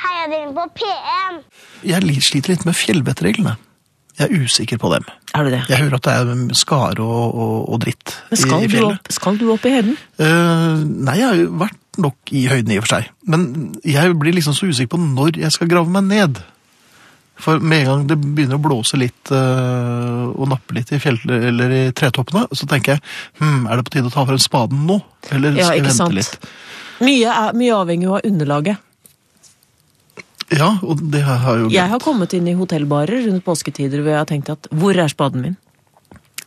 Fjellvettregelen på P1. Jeg li- sliter litt med fjellvettreglene. Jeg er usikker på dem. Er du det? Jeg hører at det er skare og, og, og dritt Men i, skal i du, fjellet. opp, skal du opp i høyden? Eh, nei, jeg har jo vært nok i høyden i og for seg. Men jeg blir liksom så usikker på når jeg skal grave meg ned. For med en gang det begynner å blåse litt eh, og nappe litt i fjell, eller i tretoppene, så tenker jeg hm, er det på tide å ta frem spaden nå? Eller Ja, skal jeg ikke vente sant? litt? Mye, er, mye avhenger jo av underlaget. Ja, og det har jeg jo Jeg har kommet inn i hotellbarer rundt påsketider hvor jeg har tenkt at hvor er spaden min?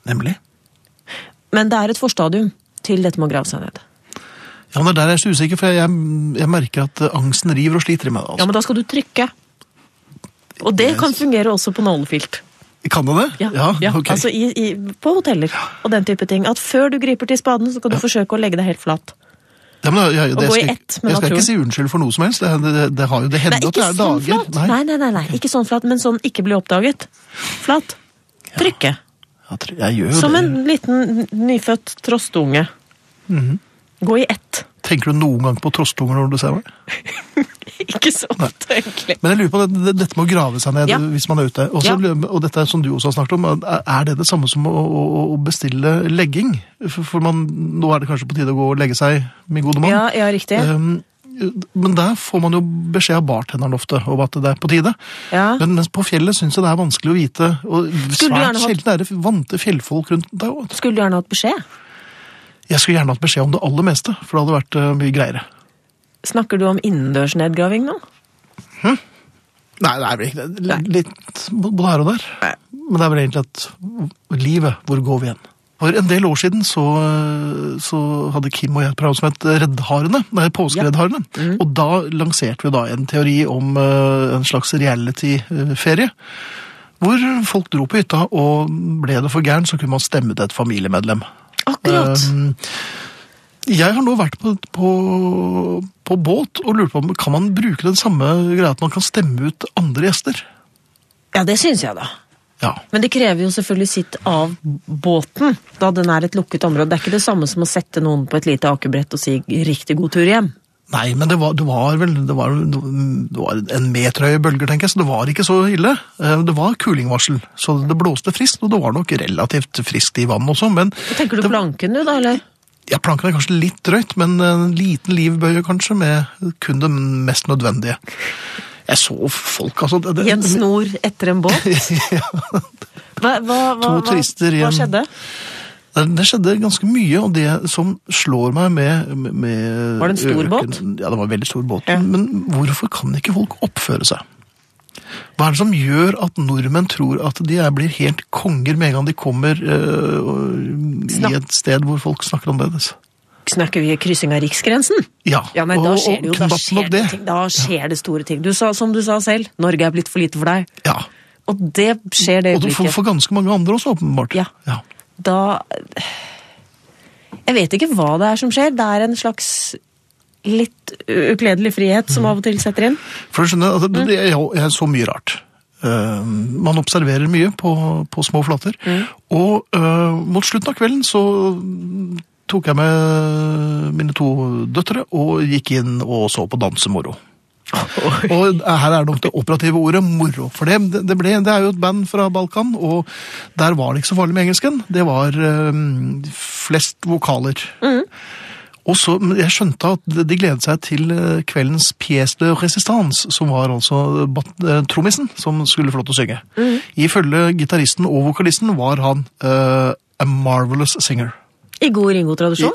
Nemlig. Men det er et forstadium til dette med å grave seg ned. Ja, men det er der jeg er så usikker, for jeg, jeg merker at eh, angsten river og sliter i meg. Ja, Altså. men da skal du trykke. Og det kan fungere også på nålefilt. Kan det det? Ja, ja, ok. altså i, i, på hoteller og den type ting. At før du griper til spaden, så skal du forsøke å legge deg helt flat. Ja, men jeg, jeg, Å jeg gå i skal, ikke- ett med jeg skal ikke naturen. si unnskyld for noe som helst. Det, det, det har jo det hender at det er dager. flat. sånn Nei, nei, nei, nei. Ikke sånn flat, men sånn ikke bli oppdaget. Flat. Trykke. Jeg, tror, jeg gjør jo Som det. en liten nyfødt trostunge. Mhm. Gå i ett. Tenker du noen gang på trostunger når du ser meg? Ikke så ofte, egentlig. Men jeg lurer på det, det, dette med å grave seg ned Ja. hvis man er ute. Og så Ja. lurer jeg- Og dette er som du også har snakket om, er er det det samme som å, å, å bestille legging? For, for man, nå er det kanskje på tide å gå og legge seg, min gode mann. Ja, ja, riktig. Um, men der får man jo beskjed av bartenderen ofte om at det er på tide. Ja. Men mens på fjellet syns jeg det er vanskelig å vite. Og du gjerne svært hatt- sjelden er det vante fjellfolk rundt deg. også. Skulle du gjerne hatt beskjed? Jeg skulle gjerne hatt beskjed om det aller meste, for det hadde vært eh, mye greiere. Snakker du om innendørsnedgraving nå? Nei, det er vel ikke det. L- Litt både her og der. Men det er vel egentlig at livet, hvor går vi hen? For en del år siden så, så hadde Kim og jeg et program som het Reddharene, nei, Påskereddharene. Og da lanserte vi da en teori om eh, en slags reality-ferie. Hvor folk dro på hytta, og ble det for gæren, så kunne man stemme til et familiemedlem. Akkurat. Um, jeg har nå vært på, på, på båt og lurt på om kan man bruke den samme greia at man kan stemme ut andre gjester. Ja, det syns jeg, da. Ja. Men det krever jo selvfølgelig sitt av båten, da den er et lukket område. Det er ikke det samme som å sette noen på et lite akebrett og si 'riktig god tur hjem'. Nei, men det var, det var vel det var, det var en meter høye bølger, tenker jeg, så det var ikke så ille. Eh, Det var kulingvarsel, så det blåste friskt, og det var nok relativt friskt i vannet også. Men Tenker du det, planken du, da, eller? ja, planken er kanskje litt drøyt, men en liten livbøye kanskje, med kun det mest nødvendige. Jeg så folk, altså. Det, det, I en snor etter en båt? Hva, hva, hva, To hva, turister i hva en- skjedde? Det, det skjedde ganske mye, og det som slår meg med, med- med Var det en stor båt? Ja, det var en veldig stor båt. Ja. Men hvorfor kan ikke folk oppføre seg? Hva er det som gjør at nordmenn tror at de er, blir helt konger med en gang de kommer eh, og- Snakk- i et sted hvor folk snakker annerledes? Snakker vi kryssing av riksgrensen? Ja, Ja, men da og- skjer det jo og da knapt skjer nok det, ting. Da skjer det store ting. Du sa, som du sa selv, Norge er blitt for lite for deg. Ja, Og det skjer det og det- for, øyeblikket. for ganske mange andre også, åpenbart. Ja. da Jeg vet ikke hva det er som skjer. Det er en slags litt ukledelig frihet som av og til setter inn. For du skjønner, at det, det er, jo- er så mye rart. Eh, man observerer mye på, på små flater. Og eh, mot slutten av kvelden så tok jeg med mine to døtre og gikk inn og så på dansemoro. Og her er nok det operative ordet moro. For det, det, ble, det er jo et band fra Balkan, og der var det ikke så farlig med engelsken. Det var eh, flest vokaler. Og så, men Jeg skjønte at de gledet seg til eh, kveldens pièce de résistance, som var altså bat- eh, trommisen som skulle få lov til å synge. Mhm. Ifølge gitaristen og vokalisten var han eh, a marvelous singer. I god Ringo-tradisjon.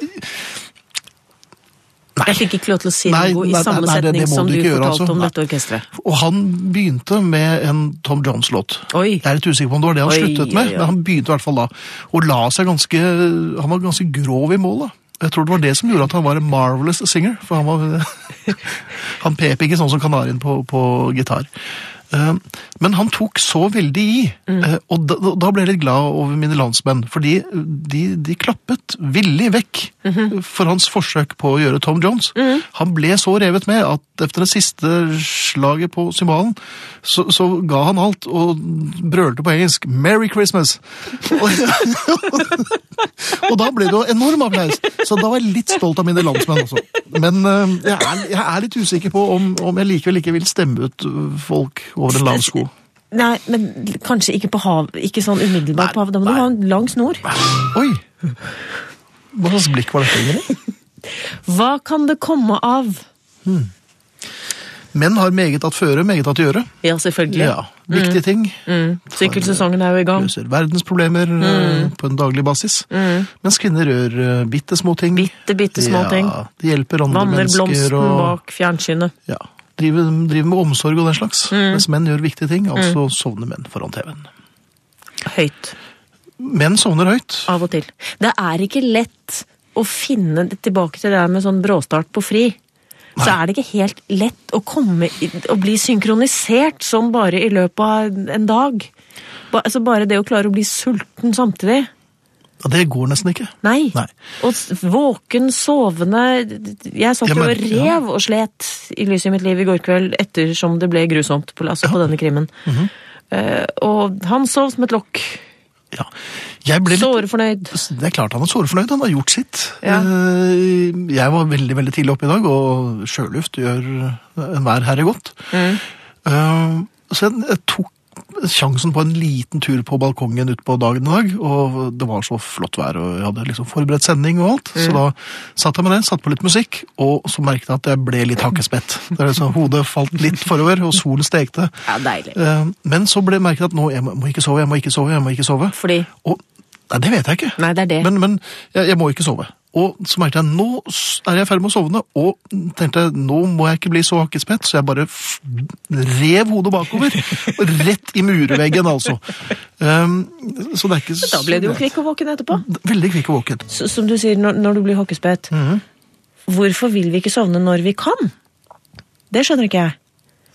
Nei. Jeg fikk ikke lov til å si Nei, Ringo i nei, samme nei, nei, det- det setning må som du du ikke gjøre, fortalte altså. om Nei. dette orkesteret. Og han begynte med en Tom Jones-låt. Oi. Jeg er litt usikker på om det var det han Oi, sluttet med, oi, oi. men han begynte i hvert fall da. Og la seg ganske Han var ganske grov i målet. Jeg tror det var det som gjorde at han var en marvelous singer. For han var Han pep ikke sånn som kanarien på, på gitar. Eh, Eh, Men han tok så veldig i, eh, og da, da ble jeg litt glad over mine landsmenn. Fordi de, de klappet villig vekk for hans forsøk på å gjøre Tom Jones. Han ble så revet med at etter det siste slaget på cymbalen, så, så ga han alt og brølte på engelsk 'Merry Christmas'. Og, og da ble det jo enorm applaus. Så da var jeg litt stolt av mine landsmenn også. Men eh, jeg er, jeg er litt usikker på om, om jeg likevel ikke vil stemme ut eh, folk over en lav sko. Nei, men kanskje ikke på hav, ikke sånn umiddelbart Nei, på havet. Da må du nei. ha en lang snor. Oi! Hva slags blikk var dette? Ingrid? Hva kan det komme av? Menn har meget at føre, meget at gjøre. Ja, selvfølgelig. Ja, Viktige ting. Mm. Sykkelsesongen er jo i gang. Løser verdensproblemer eh, på en daglig basis. Mens kvinner gjør eh, bitte små ting. Mm. Bitte, bitte små ting. Ja, de hjelper andre Vanner mennesker blomsten og bak fjernsynet. ja, driver, driver med omsorg og den slags. Mm. Mens menn gjør viktige ting, altså sovner menn foran TV-en. Høyt. Menn sovner høyt. Av og til. Det er ikke lett å finne tilbake til det der med sånn bråstart på fri. Så er det ikke helt lett å komme i, å bli synkronisert sånn bare i løpet av en dag. Ba, altså bare det å klare å bli sulten samtidig. Ja, det går nesten ikke. Nei. Nei. Og s- våken, sovende Jeg satt Ja, jo og men- ja. rev og slet i lyset i mitt liv i går kveld ettersom det ble grusomt på, altså, på denne krimmen. Mhm. Eh, og han sov som et lokk. Ja. Jeg ble litt Såre fornøyd. Det er klart han er sårefornøyd. Han har gjort sitt. Ja. Eh, Jeg var veldig veldig tidlig oppe i dag, og sjøluft gjør enhver herre godt. Mm. Eh, Så jeg, jeg tok sjansen på en liten tur på balkongen utpå dagen i dag, og det var så flott vær, og jeg hadde liksom forberedt sending og alt, Mm. så da satt jeg med det, satt på litt musikk, og så merket jeg at jeg ble litt hakkespett. Det er liksom, hodet falt litt forover, og solen stekte. Ja, deilig. Eh, Men så ble jeg merket at nå, jeg må må ikke sove, jeg må ikke sove, jeg må ikke sove. Fordi Og, nei, det vet jeg ikke. Nei, det er det. Men, men jeg, jeg må ikke sove. Og så merket jeg, nå s- er jeg ferdig med å sovne, og tenkte jeg, nå må jeg ikke bli så hakkespett, så jeg bare f- rev hodet bakover, og rett i murveggen altså. Um, så det er ikke... Da ble du jo kvikk og våken etterpå. Veldig kvikk og våken. Så, som du sier, når, når du blir hockeyspett. Mhm. Hvorfor vil vi ikke sovne når vi kan? Det skjønner ikke jeg.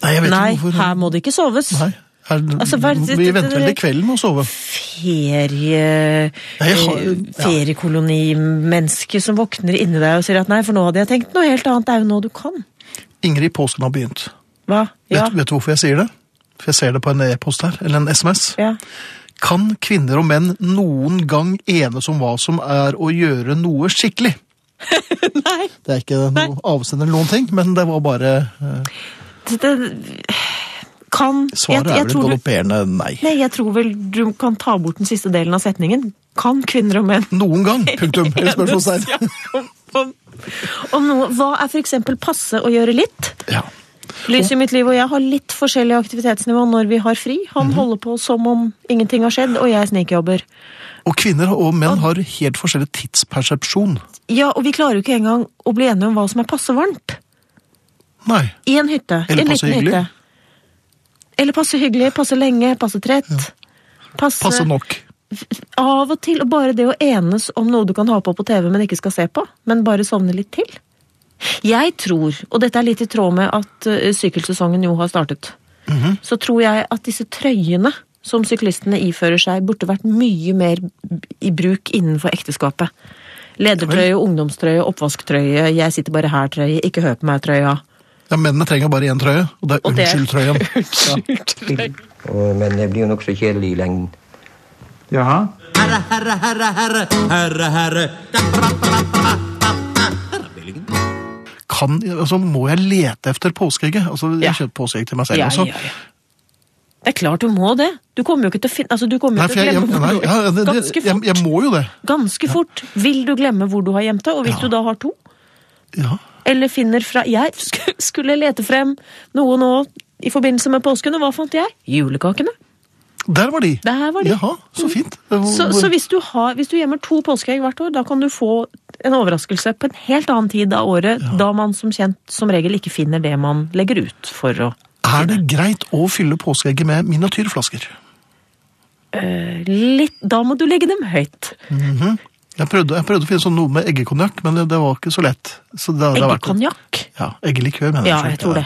Nei, jeg vet Nei, ikke hvorfor. her må det ikke soves. Nei, her, Altså, hva er det- vi venter vel til kvelden med å sove. ferie, Nei, jeg har- eh, ja. feriekolonimenneske som våkner inni deg og sier at nei, for nå hadde jeg tenkt noe helt annet, det er jo nå du kan. Ingrid, påsken har begynt. Hva? Ja. Vet, vet du hvorfor jeg sier det? For jeg ser det på en e-post her, eller en sms. ja. Kan kvinner og menn noen gang enes om hva som er å gjøre noe skikkelig? Nei, Det er ikke noe avsender eller noen ting, men det var bare eh, det, det kan jeg, Svaret er jeg vel et tror du, galopperende nei. Nei, jeg tror vel du kan ta bort den siste delen av setningen. Kan kvinner og menn Noen gang, punktum. Eller spørsmålstegn. enes, ja, om, om noe? Hva er for eksempel passe å gjøre litt? Ja. Lys i mitt liv og jeg har litt forskjellig aktivitetsnivå når vi har fri. Han Mhm. holder på som om ingenting har skjedd, og jeg snikjobber. Og kvinner og menn har helt forskjellig tidspersepsjon. Ja, og vi klarer jo ikke engang å bli enige om hva som er passe varmt. Nei. I en hytte. Eller i en passe liten hyggelig. hytte. Eller passe hyggelig, passe lenge, passe trett. Passe, Passe nok. Av og til, og bare det å enes om noe du kan ha på på TV, men ikke skal se på. Men bare sovne litt til. Jeg tror, og dette er litt i tråd med at eh, sykkelsesongen jo har startet, Mhm. så tror jeg at disse trøyene som syklistene ifører seg, burde vært mye mer i bruk innenfor ekteskapet. Ledertrøye, ungdomstrøye, oppvasktrøye, jeg sitter bare her-trøye, ikke hør på meg-trøya. Ja, Mennene trenger bare én trøye, og det er Og det er- unnskyld-trøyen. Ja. Og- Men det blir jo nokså kjedelig i lengden. Jaha? Herre, herre, herre, herre, herre, herre. Kan, altså, må jeg lete etter påskeegget? Altså, Ja. jeg kjøper påskeegg til meg selv Ja, også. ja, ja. Det er klart du må det. Du kommer jo ikke til å finne altså, Du kommer Nei, jo for til å jeg, jeg, glemme nei, hvor du ja, det, det, Ganske jeg, fort. jeg må jo det. Ganske fort vil du glemme hvor du har gjemt deg, og hvis Ja. du da har to, Ja. eller finner fra Jeg sk- skulle lete frem noe nå i forbindelse med påsken, og hva fant jeg? Julekakene. Der var de. Der var de. Mm. Jaha, så fint. Så, så hvis, du har, hvis du gjemmer to påskeegg hvert år, da kan du få en overraskelse på en helt annen tid av året, da man som kjent som regel ikke finner det man legger ut for å Er det greit å fylle påskeegget med miniatyrflasker? øh, Litt Da må du legge dem høyt. Jeg prøvde, jeg prøvde å finne sånn noe med eggekonjakk, men det, det var ikke så lett. Så det, det har vært- Eggekonjakk. Ja, eggelikør, mener jeg. Ja, selv. jeg tror det.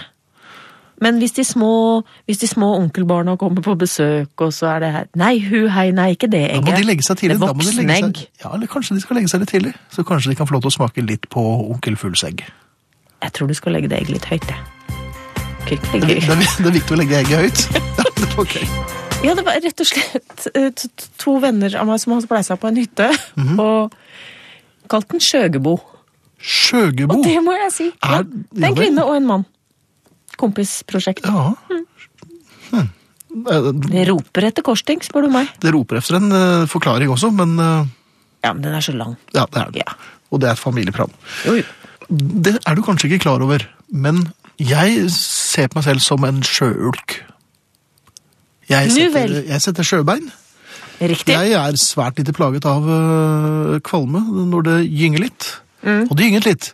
Men hvis de små, hvis de små onkelbarna kommer på besøk, og så er det her Nei, hu, hei, nei, ikke det Da egget. må de legge seg tidlig. Det Da må de legge voksne seg, egg. ja, eller kanskje de skal legge seg litt tidlig. Så kanskje de kan få lov til å smake litt på onkel Fugls egg. Jeg tror du skal legge det egget litt høyt, jeg. Kan ikke Det, legge- er- det er viktig å legge egget høyt. Ja, det- ok. Ja, det var rett og slett eh, to- to- to venner av meg som hadde pleisa på en hytte, Mhm. og kalt den Skjøgebo. Sjøgebo. Og det må jeg si. Oh. Ja, Er- det er ja en vel. kvinne og en mann. Kompisprosjekt. Ja. Mm. Hm. Eh, Det roper etter korsting, spør du meg. Det roper efter en eh, forklaring også, men eh, Ja, men den er så lang. ja, det er det. Ja. Og det er et familieprogram. Jo, jo. Det er du kanskje ikke klar over, men jeg ser på meg selv som en sjøulk. Jeg Nu setter, vel. jeg setter sjøbein. Riktig. Jeg er svært lite plaget av øh, kvalme når det gynger litt. Og det gynget litt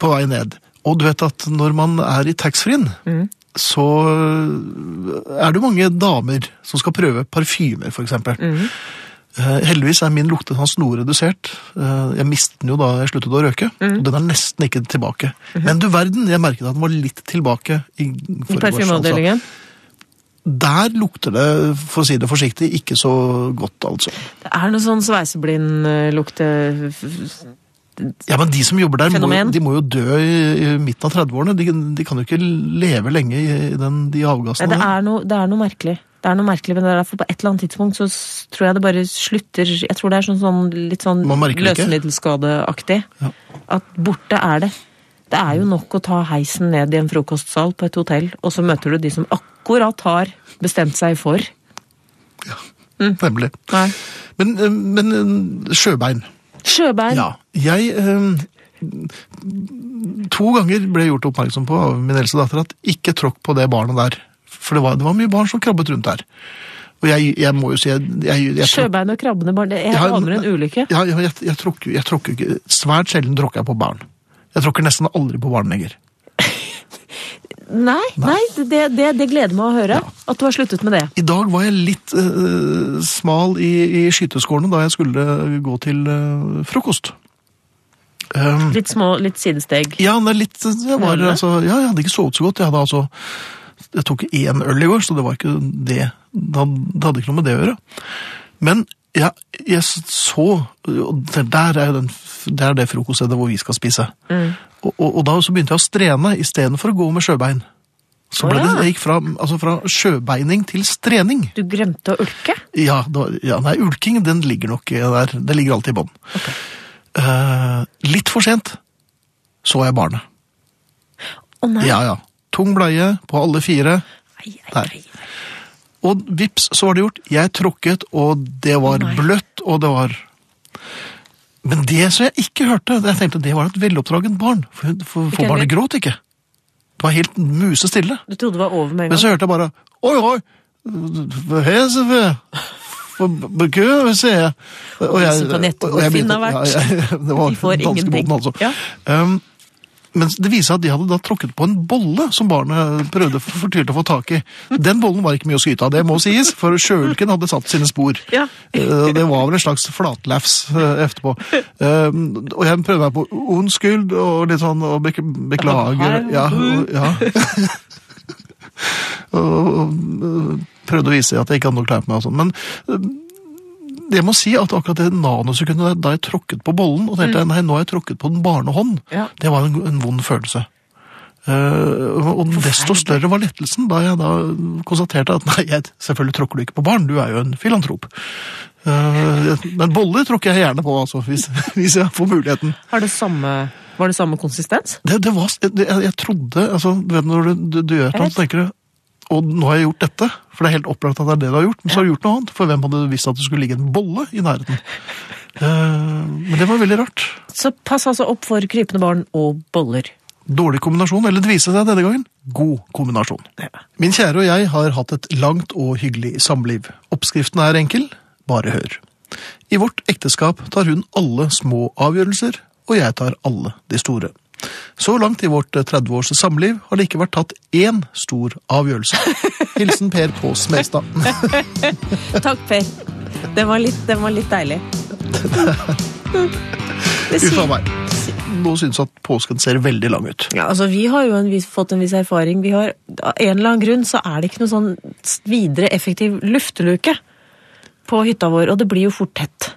på vei ned. Og du vet at når man er i taxfree-en, så øh, er det jo mange damer som skal prøve parfymer, f.eks. Mm. heldigvis er min luktesans noe redusert. Eh, jeg mistet den jo da jeg sluttet å røyke. Og den er nesten ikke tilbake. Men du verden, jeg merket at den var litt tilbake i I forgårs. altså. parfymeavdelingen. Der lukter det, for å si det forsiktig, ikke så godt, altså. Det er noe sånn sveiseblindlukte... Ja, men de som jobber der, må, Fenomen. de må jo dø i, i midten av 30-årene. De, de kan jo ikke leve lenge i i den, de Nei, avgassene. det der. er noe, det er noe merkelig. Det er noe merkelig, men det er derfor på et eller annet tidspunkt så s- tror jeg det bare slutter Jeg tror det er sånn, sånn litt sånn Man merker det ikke. løsemiddelskadeaktig. Ja. At borte er det. Det er jo nok å ta heisen ned i en frokostsal på et hotell, og så møter du de som akkurat har bestemt seg for. Nemlig. Nei. Men, eh, men eh, sjøbein. Sjøbein. Ja. Jeg eh, To ganger ble jeg gjort oppmerksom på av min eldste datter at ikke tråkk på det barnet der. For det var, det var mye barn som krabbet rundt der. Og jeg, jeg må jo si jeg, jeg, jeg tråkk- Sjøbein og krabbene barn. Det- Jeg Ja, aner en ulykke. Ja, ja jeg, jeg, tråkker, jeg tråkker ikke Svært sjelden tråkker jeg på barn. Jeg tråkker nesten aldri på barn lenger. Nei, nei, det, det, det gleder meg å høre. At du har sluttet med det. I dag var jeg litt eh, smal i, i skyteskårene da jeg skulle gå til eh, frokost. Um, Litt små, litt sidesteg. ja, det er litt jeg, var, Føler du? altså, ja, jeg hadde ikke sovet så godt. Jeg hadde altså Jeg tok én øl i går, så det var ikke det Det had- det hadde ikke noe med det å gjøre. Men jeg, jeg så og Der der er jo den, f- det, er det frokoststedet hvor vi skal spise. Mm. Og, og, og da så begynte jeg å strene istedenfor å gå med sjøbein. Så Å, ble det, ja. jeg gikk fra, altså fra sjøbeining til strening. Du glemte å ulke. Ja, det var, ja, nei, ulking den ligger nok eh, der. Den ligger alltid i bånn. Eh, litt for sent så jeg barnet. Å nei. Ja, ja. Tung bleie på alle fire. Ai, ai, Nei. ai. Og vips, så var det gjort. Jeg tråkket, og det var Å, nei. bløtt, og det var Men det som jeg ikke hørte, jeg tenkte det var et veloppdragent barn. For, for, for Ikke barnet heller. gråt ikke. Det var helt musestille. Du trodde det var over med en Men så gang? hørte jeg bare Oi, oi! Hva er det jeg. Og de som på nettet hvor Finn har vært, ja, jeg- det var de får danskebåten, ingenting. altså. Ja. Um, men det viser seg at de hadde da tråkket på en bolle som barnet prøvde for- fortvilt å få tak i. Den bollen var ikke mye å skyte av, det må sies, for sjøulken hadde satt sine spor. Ja. Eh, Det var vel en slags flatlefs eh, etterpå. Um, og jeg prøvde meg på unnskyld og litt sånn og bek beklager. Ja, og, ja. prøvde å vise at jeg ikke hadde noe klær på meg. Og sånn. Men øh, jeg må si at akkurat det nanosekundet der- da jeg tråkket på bollen, og tenkte jeg, nei, nå har jeg tråkket på den barnehånd, Ja. det var en, en vond følelse. Eh, og- og desto større var lettelsen da jeg da konstaterte at nei, jeg, selvfølgelig tråkker du ikke på barn, du er jo en filantrop. Eh, men boller tråkker jeg gjerne på, altså, hvis, hvis jeg får muligheten. Har det samme, var det samme konsistens? Det, det var, jeg, jeg, jeg trodde altså, du vet, Når du, du, du gjør noe, vet. så tenker du og nå har jeg gjort dette, for det er helt opplagt at det er det du har gjort. Men så har du gjort noe annet, for hvem hadde visst at det skulle ligge en bolle i nærheten? Eh, men det var veldig rart. Så pass altså opp for krypende barn og boller. Dårlig kombinasjon, eller det viste seg denne gangen, god kombinasjon. Min kjære og jeg har hatt et langt og hyggelig samliv. Oppskriften er enkel, bare hør. I vårt ekteskap tar hun alle små avgjørelser, og jeg tar alle de store. Så langt i vårt 30-års samliv har det ikke vært tatt én stor avgjørelse. Hilsen Per på Smestad. Takk, Per. Den var litt, den var litt deilig. Det Uff a sier, meg. og syns at påsken ser veldig lang ut. Ja, altså Vi har jo en viss, fått en viss erfaring. Vi har, av en eller annen grunn så er det ikke noe sånn videre effektiv lufteluke på hytta vår, og det blir jo fort tett.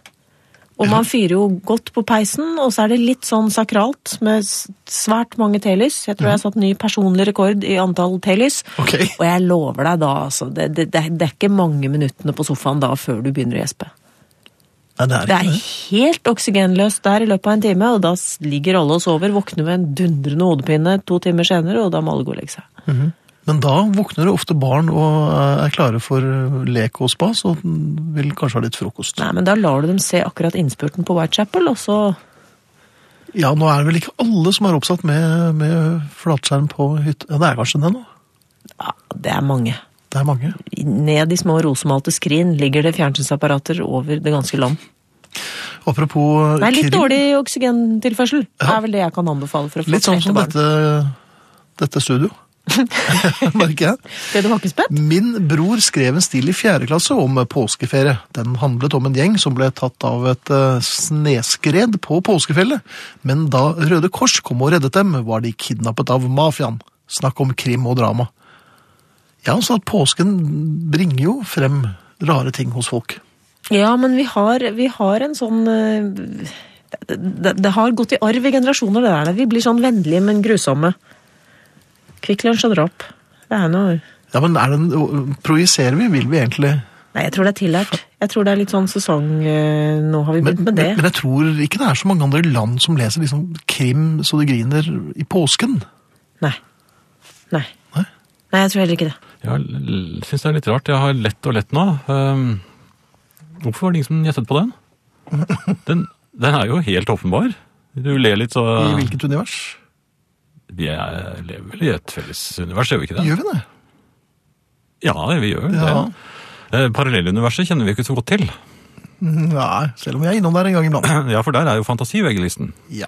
Og man fyrer jo godt på peisen, og så er det litt sånn sakralt med s- svært mange telys. Jeg tror jeg har satt ny personlig rekord i antall telys. Ok. Og jeg lover deg da, altså. Det, det, det, er- det er ikke mange minuttene på sofaen da før du begynner å gjespe. Nei, det er ikke Det er det. helt oksygenløst der i løpet av en time, og da s- ligger alle og sover, våkner med en dundrende hodepine to timer senere, og da må alle gå og legge seg. Men da våkner det ofte barn og eh, er klare for eh, lek og spas, og mm, vil kanskje ha litt frokost. Nei, men da lar du dem se akkurat innspurten på Whitechapel, og så Ja, nå er det vel ikke alle som er oppsatt med, med flatskjerm på hytta. Ja, det er kanskje det nå? Ja, det er mange. Det er mange. Ned i små rosemalte skrin ligger det fjernsynsapparater over det ganske land. Apropos eh, Nei, litt Krim. dårlig oksygentilførsel. Det Ja. er vel det jeg kan anbefale for å få Litt sånn trette som barn. dette, dette studio. Merker jeg. Ble du hakkespett? Min bror skrev en stil i fjerde klasse om påskeferie. Den handlet om en gjeng som ble tatt av et eh, sneskred på påskefjellet. Men da Røde Kors kom og reddet dem, var de kidnappet av mafiaen. Snakk om krim og drama. Ja, så at påsken bringer jo frem rare ting hos folk. Ja, men vi har, vi har en sånn eh, det, det, det har gått i arv i generasjoner, det der. Vi blir sånn vennlige, men grusomme. Kvikk Lunsj og drap. Det er noe Ja, men er den, projiserer vi? Vil vi egentlig? Nei, jeg tror det er tillært. Jeg tror det er litt sånn sesong eh, Nå har vi Men, begynt med men, men det. jeg tror ikke det er så mange andre land som leser liksom krim så det griner i påsken. Nei. Nei. Nei? Nei, jeg tror heller ikke det. Jeg syns det er litt rart. Jeg har lett og lett nå. Ehm, hvorfor var det ingen som gjettet på den? den? Den er jo helt åpenbar. Du ler litt, så I hvilket univers? Vi er, lever vel i et felles univers, gjør vi ikke det? Gjør vi det? Ja, vi gjør det. Ja. Eh, Parallelluniverset kjenner vi ikke så godt til. Nei, selv om jeg er innom der en gang iblant. Ja, for der er jo fantasi veggelisten. Ja.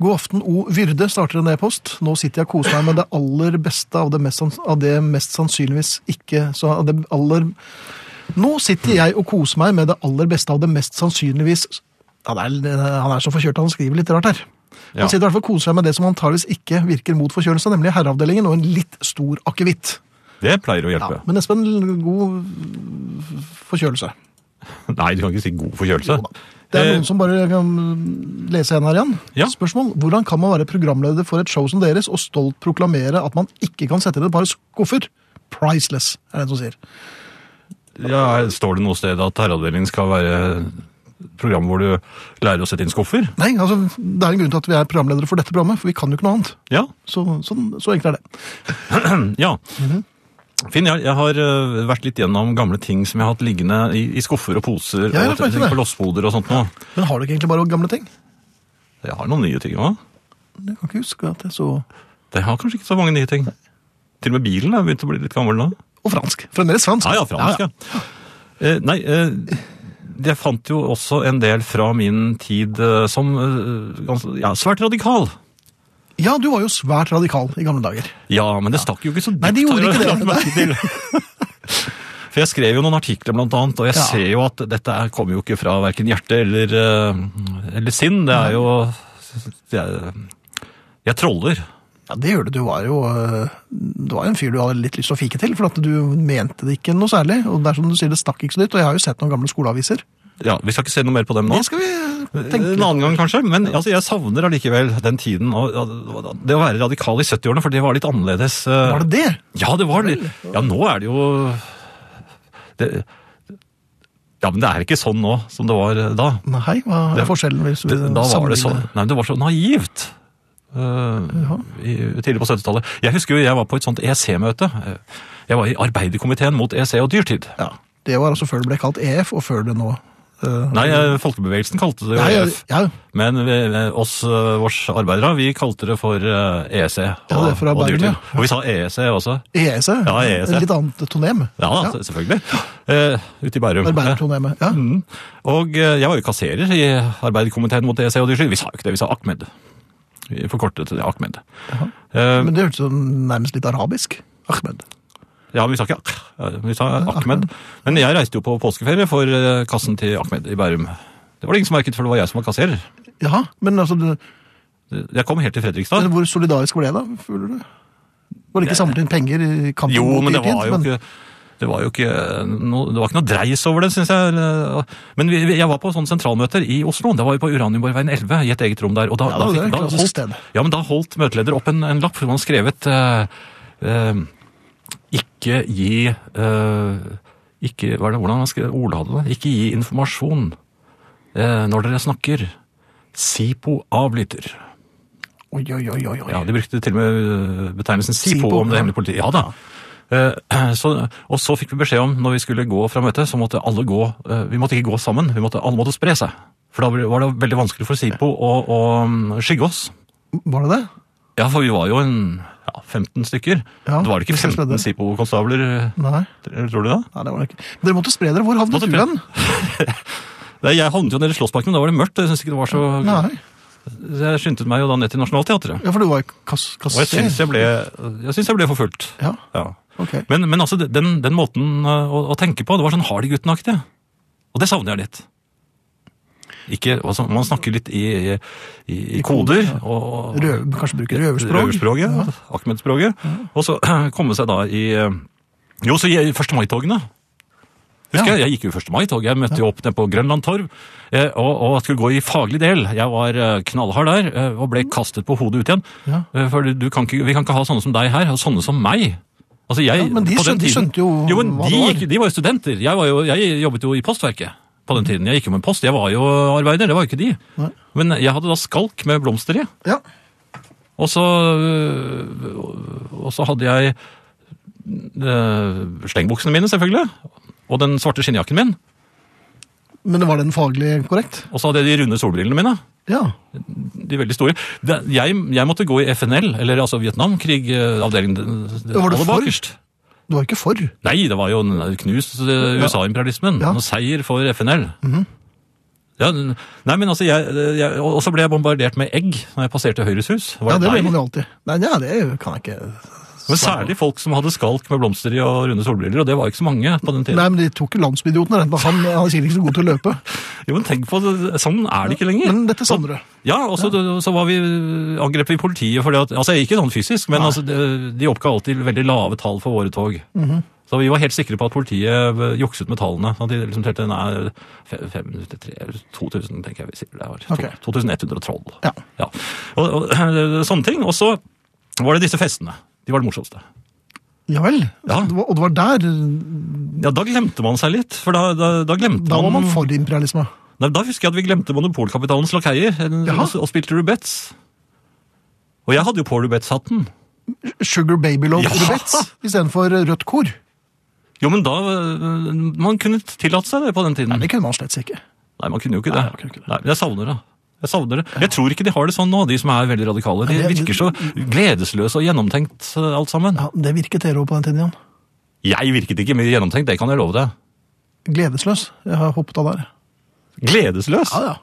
God aften, O. Vyrde starter en e-post. Nå sitter jeg og koser meg med det aller beste av det mest, sanns- av det mest sannsynligvis ikke så av det aller... Nå sitter jeg og koser meg med det aller beste av det mest sannsynligvis ja, det er, Han er så forkjørt, han skriver litt rart her. Han Ja. sitter i hvert fall og koser seg med det som antageligvis ikke virker mot forkjølelse, nemlig herreavdelingen og en litt stor akevitt. Det pleier å Ja, hjelpe. men Espen, god forkjølelse. Nei, du kan ikke si god forkjølelse. Det er Eh, noen som bare kan lese en her igjen. Ja. Spørsmål. Hvordan kan man være programleder for et show som deres og stolt proklamere at man ikke kan sette inn et par skuffer? Priceless, er det en som sier. ja, står det noe sted at herreavdelingen skal være et program hvor du lærer å sette inn skuffer? Nei, altså, det er en grunn til at vi er programledere for dette programmet, for vi kan jo ikke noe annet. Ja. Så, sånn, så enkelt er det. Ja. Finn, jeg, jeg har øh, vært litt gjennom gamle ting som jeg har hatt liggende i, i skuffer og poser Ja, jeg og vet ting det. på lossboder og sånt noe. Men har du ikke egentlig bare gamle ting? Jeg har noen nye ting òg. Jeg kan ikke huske at jeg så... Det har kanskje ikke så mange nye ting. Til og med bilen er begynt å bli litt gammel nå. Og fransk. Fremdeles fransk. Ja, ja, fransk, ja. Eh, nei, eh, jeg fant jo også en del fra min tid eh, som eh, ganske, ja, svært radikal. ja. Ja, du var jo svært radikal i gamle dager. Ja, men det stakk jo ikke så dypt. Nei, det gjorde har ikke jeg det, lagt merke til. For jeg skrev jo noen artikler, blant annet, og jeg Ja. ser jo at dette her kommer jo ikke fra verken hjerte eller, eh, eller sinn. Det er jo det er, Jeg troller. Ja, det gjør det. Du var jo øh, du var jo en fyr du hadde litt lyst til å fike til, for at du mente det ikke noe særlig. Og det er som du sier, det stakk ikke så dypt. Og jeg har jo sett noen gamle skoleaviser. Ja, Eh, Vi skal ikke se noe mer på dem nå. Det skal vi tenke En annen gang, kanskje. Men altså, jeg savner allikevel den tiden. Og, ja, det å være radikal i 70-årene, for det var litt annerledes. eh, Var det det? Ja, det var det. Ja, nå er det jo det, Ja, men det er ikke sånn nå som det var eh, da. Nei, hva er Det- forskjellen hvis vi Det, da var det, sånn. så, sammenligner? nei, men det var så naivt. eh, i, tidlig på 70-tallet. Jeg husker jo jeg var på et sånt EC-møte. Eh, Jeg var i arbeiderkomiteen mot EC og dyrtid. Ja, Det var altså før det ble kalt EF, og før det nå øh, Nei, E eh, folkebevegelsen kalte det jo Nei, ja, EF. ja, Men vi, eh, oss eh, vårs arbeidere, vi kalte det for eh, EC og, det er for og arbeiderne, dyrtid. ja. Og vi sa EC også. EEC. Ja, EEC. E. Litt annet tonem. Ja, Ja. se- selvfølgelig. Eh, Ute i Bærum. Arbeidertonemet. Ja. Mm. Og eh, jeg var jo kasserer i arbeiderkomiteen mot EC og dyrtid. Vi sa jo ikke det, vi sa Ahmed. Vi forkortet det Ahmed. Eh, Men det hørtes jo nærmest litt arabisk. Ahmed. Ja, men vi sa ikke Ak, vi sa Ahmed. Men jeg reiste jo på påskeferie for eh, kassen til Ahmed i Bærum. Det var det ingen som merket, for det var jeg som var kasserer. Jaha, men altså, det, Jeg kom helt til Fredrikstad. hvor solidarisk var det da, føler du? Var det ikke samlet inn penger i kampen? Jo, mot men det Irland, var jo ikke det var jo ikke noe, det var ikke noe dreis over det, syns jeg. Men vi, vi- jeg var på sånne sentralmøter i Oslo. Da var vi på Uranienborgveien 11 i et eget rom der. Og da, Ja, da, det er fikk- et da, klassisk sted. holdt, ja, men da holdt møteleder opp en, en lapp hvor han skrevet eh, eh, Ikke gi eh, ikke, hva er det, Hvordan han skrev Ola hadde det? Ikke gi informasjon eh, når dere snakker. SIPO avlytter. Oi, oi, oi, oi, oi. Ja, de brukte til og med øh, betegnelsen SIPO, SIPO, om det ja. hemmelige politiet. Ja da. Eh, Så, og så fikk vi beskjed om, når vi skulle gå fra møtet, så måtte alle gå eh, Vi måtte ikke gå sammen, vi måtte, alle måtte spre seg. For da ble- var det veldig vanskelig for SIPO å, å mm, skygge oss. Var det det? Ja, for vi var jo en ja, 15 stykker. Ja, det var det ikke vi skal 15 spredde. SIPO-konstabler, eh, Nei. tror du det? Nei, det var det ikke. Dere måtte spre dere. Hvor havnet Måtte du spre- hen? Nei, Jeg havnet jo nede i Slåssparken, men da var det mørkt. Jeg synes ikke det var så... Nei, Så Jeg skyndte meg jo da ned til Nationaltheatret. ja, for du var i kass... Og jeg syns jeg ble, øh, jeg synes jeg ble forfulgt. Ja, Ja. ok. Men, men altså, den, den måten øh, å, å tenke på, det var sånn hardigutten-aktig. Og det savner jeg litt. Ikke, altså, man snakker litt i, i, i, I koder, koder. ja. og- Røv, kanskje bruke røverspråk? Røverspråket. Ahmed-språket. Og så komme seg da i øh, Jo, så i 1. mai-togene. Husker Ja. jeg, jeg gikk jo i 1. mai-tog. Jeg møtte jo opp nede på Grønland Torv eh, og, og skulle gå i faglig del. Jeg var eh, knallhard der eh, og ble kastet på hodet ut igjen. Ja. Eh, For du kan ikke, vi kan ikke ha sånne som deg her, og sånne som meg. Altså jeg, Ja, men de på den skjønte- de tiden- skjønte jo jo men hva de, det var. gikk, de var jo studenter. Jeg, var jo, jeg jobbet jo i postverket på den tiden. Jeg gikk jo med post. Jeg var jo arbeider, det var jo ikke de. Nei. Men jeg hadde da skalk med blomster i. Ja. Og så, øh, og så hadde jeg øh, slengbuksene mine, selvfølgelig. Og den svarte skinnjakken min. Men var den faglig korrekt? Og så hadde jeg de runde solbrillene mine. Ja. De veldig store. Det, jeg, jeg måtte gå i FNL, eller altså Vietnamkrig-avdelingen. Var du for? Du var ikke for? øh, Nei, det var jo en knust eh, USA-imperialismen. Ja. Mhm. En seier for FNL. ja, n- nei, men altså, jeg, jeg, Og så ble jeg bombardert med egg når jeg passerte Høyres hus. Var Ja, det deg? ble man jo alltid. Nei, ja, det kan jeg ikke Men særlig folk som hadde skalk med blomster i og runde solbriller, og det var jo ikke så mange på den tiden. Nei, men de tok jo landsbyidioten. Han, han er sikkert ikke så god til å løpe. Jo, men tenk på det, Sånn er det ikke lenger. Men dette savner du. Ja, og så, så var vi, angrep vi politiet for det at Altså, ikke sånn fysisk, men altså, de, de oppga alltid veldig lave tall for våre tog. Mhm. Så vi var helt sikre på at politiet eh, jukset med tallene. Sånn at de liksom telte nei, fe- fem- tre- 2000, tenker jeg vi sier det var. To- Ok. 2112. Ja. Og, og sånne ting. Og så var det disse festene. De var det morsomste. Ja vel. Ja. Så det var- Og det var der Ja, da glemte man seg litt. For da, da, da glemte Da var man for imperialisme. Nei, da husker jeg at vi glemte monopolkapitalens lakeier en- Jaha. og, og spilte rubets. Og jeg hadde jo på rubets-hatten. Sugar Baby Love Ja. Rubets istedenfor rødt kor. Jo, men da øh, Man kunne tillate seg det på den tiden. Det Nei, kunne man slett ikke. man kunne jo ikke det. Nei, man kunne ikke det. Nei, men jeg savner det. Jeg savner det. Jeg tror ikke de har det sånn nå, de som er veldig radikale. De Nei, det- virker så gledesløse og gjennomtenkt øh, alt sammen. Ja, Det virket dere òg på den tiden, Jan. Jeg virket ikke mye gjennomtenkt, det kan jeg love deg. Gledesløs. Jeg har hoppet av der. Gledesløs? Ja, ja.